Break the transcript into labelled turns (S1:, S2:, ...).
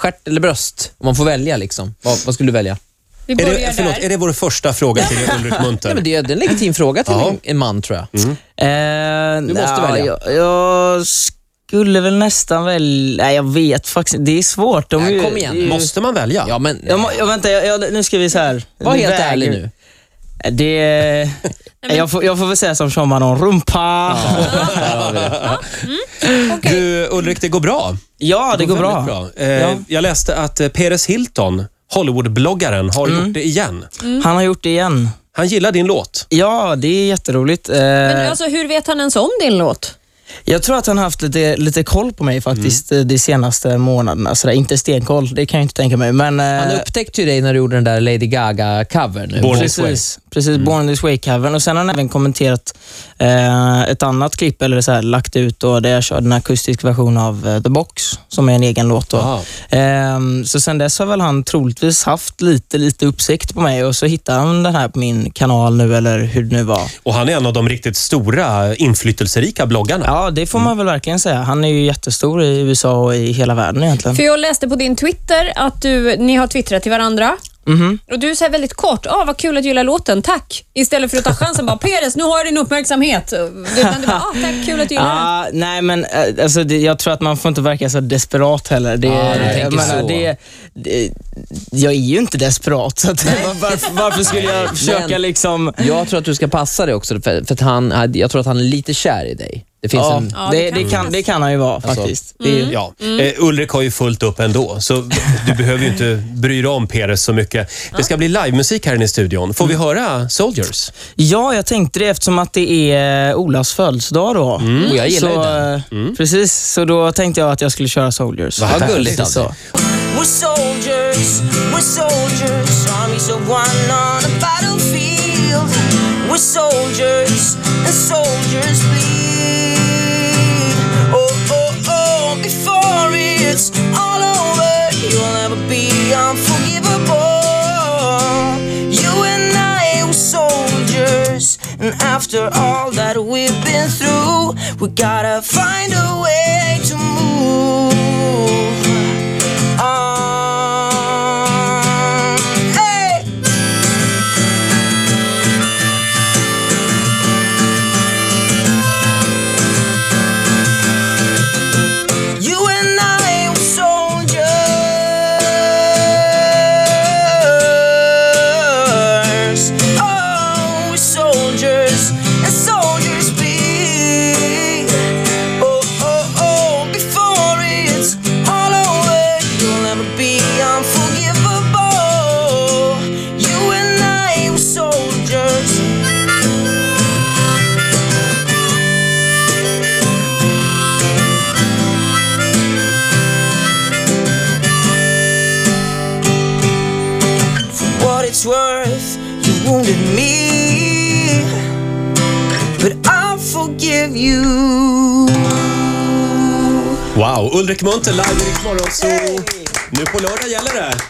S1: stjärt eller bröst? Om man får välja, liksom. vad, vad skulle du välja?
S2: Vi
S3: Är
S2: börjar
S3: det, förlåt,
S2: där.
S3: är det vår första fråga till Ulrik Munter?
S1: Nej, men det är det är en legitim fråga till en, en man, tror jag.
S4: Eh,
S1: Du måste
S4: ja,
S1: välja.
S4: Jag, jag skulle väl nästan välja... Nej, jag vet faktiskt inte. Det är svårt. De är
S1: Nej,
S4: ju-
S1: kom igen.
S4: det är ju-
S3: Måste man välja?
S1: Ja, men
S4: Jag, må- jag, vänta, jag, jag, nu ska vi så här.
S1: var
S4: Vi
S1: helt
S4: väger- Eh,
S1: ärlig nu.
S4: Det, jag, får, jag får väl säga som Sean Manon, rumpa. Ja,
S2: Okej.
S3: Du, Ulrik, det går bra.
S4: det går bra.
S3: Väldigt Eh, Jag läste att eh, Perez Hilton, Hollywood-bloggaren, har
S4: Mm.
S3: gjort det igen.
S4: Han har gjort det igen.
S3: Han gillar din låt.
S4: Ja, det är jätteroligt. Eh,
S2: Men alltså, hur vet han ens om din låt?
S4: Jag tror att han har haft lite, lite koll på mig faktiskt
S1: Mm.
S4: eh, de senaste månaderna. Så där, inte stenkoll, det kan jag inte tänka mig. Men, eh,
S1: Han upptäckte ju dig när du gjorde den där Lady Gaga-covern.
S3: Born this way. Mm.
S4: Precis, precis Born This Way-covern. Och sen har han även kommenterat eh, ett annat klipp, eller så här, lagt ut, då, där jag körde en akustisk version av eh, The Box, som är en egen låt. Då.
S3: Aha.
S4: Ehm, så sen dess har väl han troligtvis haft lite, lite uppsikt på mig och så hittade han den här på min kanal nu, eller hur det nu var.
S3: Och han är en av de riktigt stora, eh, inflytelserika bloggarna.
S4: Ja, det får man väl verkligen säga. Han är ju jättestor i USA och i hela världen egentligen.
S2: För jag läste på din Twitter att du, ni har twittrat till varandra.
S4: Mhm.
S2: Och du säger väldigt kort, ah, vad kul att du gillar låten, tack. Istället för att ta chansen bara, Peres, nu har jag din uppmärksamhet. Utan du bara, ah, tack, kul att du gillar den.
S4: Ah, nej, men eh, alltså, det, jag tror att man får inte verka så desperat heller. Det,
S1: Ah, du tänker
S4: jag,
S1: så.
S4: Det, det, jag är ju inte desperat, så att, varför, varför skulle jag försöka
S1: Men-
S4: liksom...
S1: Jag tror att du ska passa dig också, för, för att han, jag tror att han är lite kär i dig. Det finns
S4: Ja,
S1: en...
S2: det
S4: det,
S2: kan
S4: det, kan,
S2: finnas. mm.
S4: det kan han ju vara faktiskt. Det är ju-
S3: Ja. Eh, Ulrik har ju fullt upp ändå, så du behöver ju inte bry dig om Perez så mycket. Det ska bli livemusik här inne i studion. Får vi
S2: Mm.
S3: höra Soldiers?
S4: Ja, jag tänkte det eftersom att det är eh, Olas födelsedag då.
S1: Och jag gillar ju
S4: Mm. så,
S1: den.
S4: eh, Precis, så då tänkte jag att jag skulle köra Soldiers.
S3: Vad
S1: Vad gulligt alltså. av
S4: Precis så.
S1: dig.
S5: We're soldiers, we're soldiers, armies of one on a battlefield. We're soldiers, and soldiers bleed. Oh, oh, oh, before it's all over, you'll never be unforgivable. You and I were soldiers, and after all that we've been through, we gotta find a way to move on. Uh, Hey! You and I were soldiers. Oh, we're soldiers and soldiers be. Oh, oh, oh, before it's all over, you'll never be unforgivable. You and I were soldiers. what it's worth, you wounded me. But I'll forgive you.
S3: Wow, Ulrik Munther live i Riksmorgon. Så nu på lördag gäller det.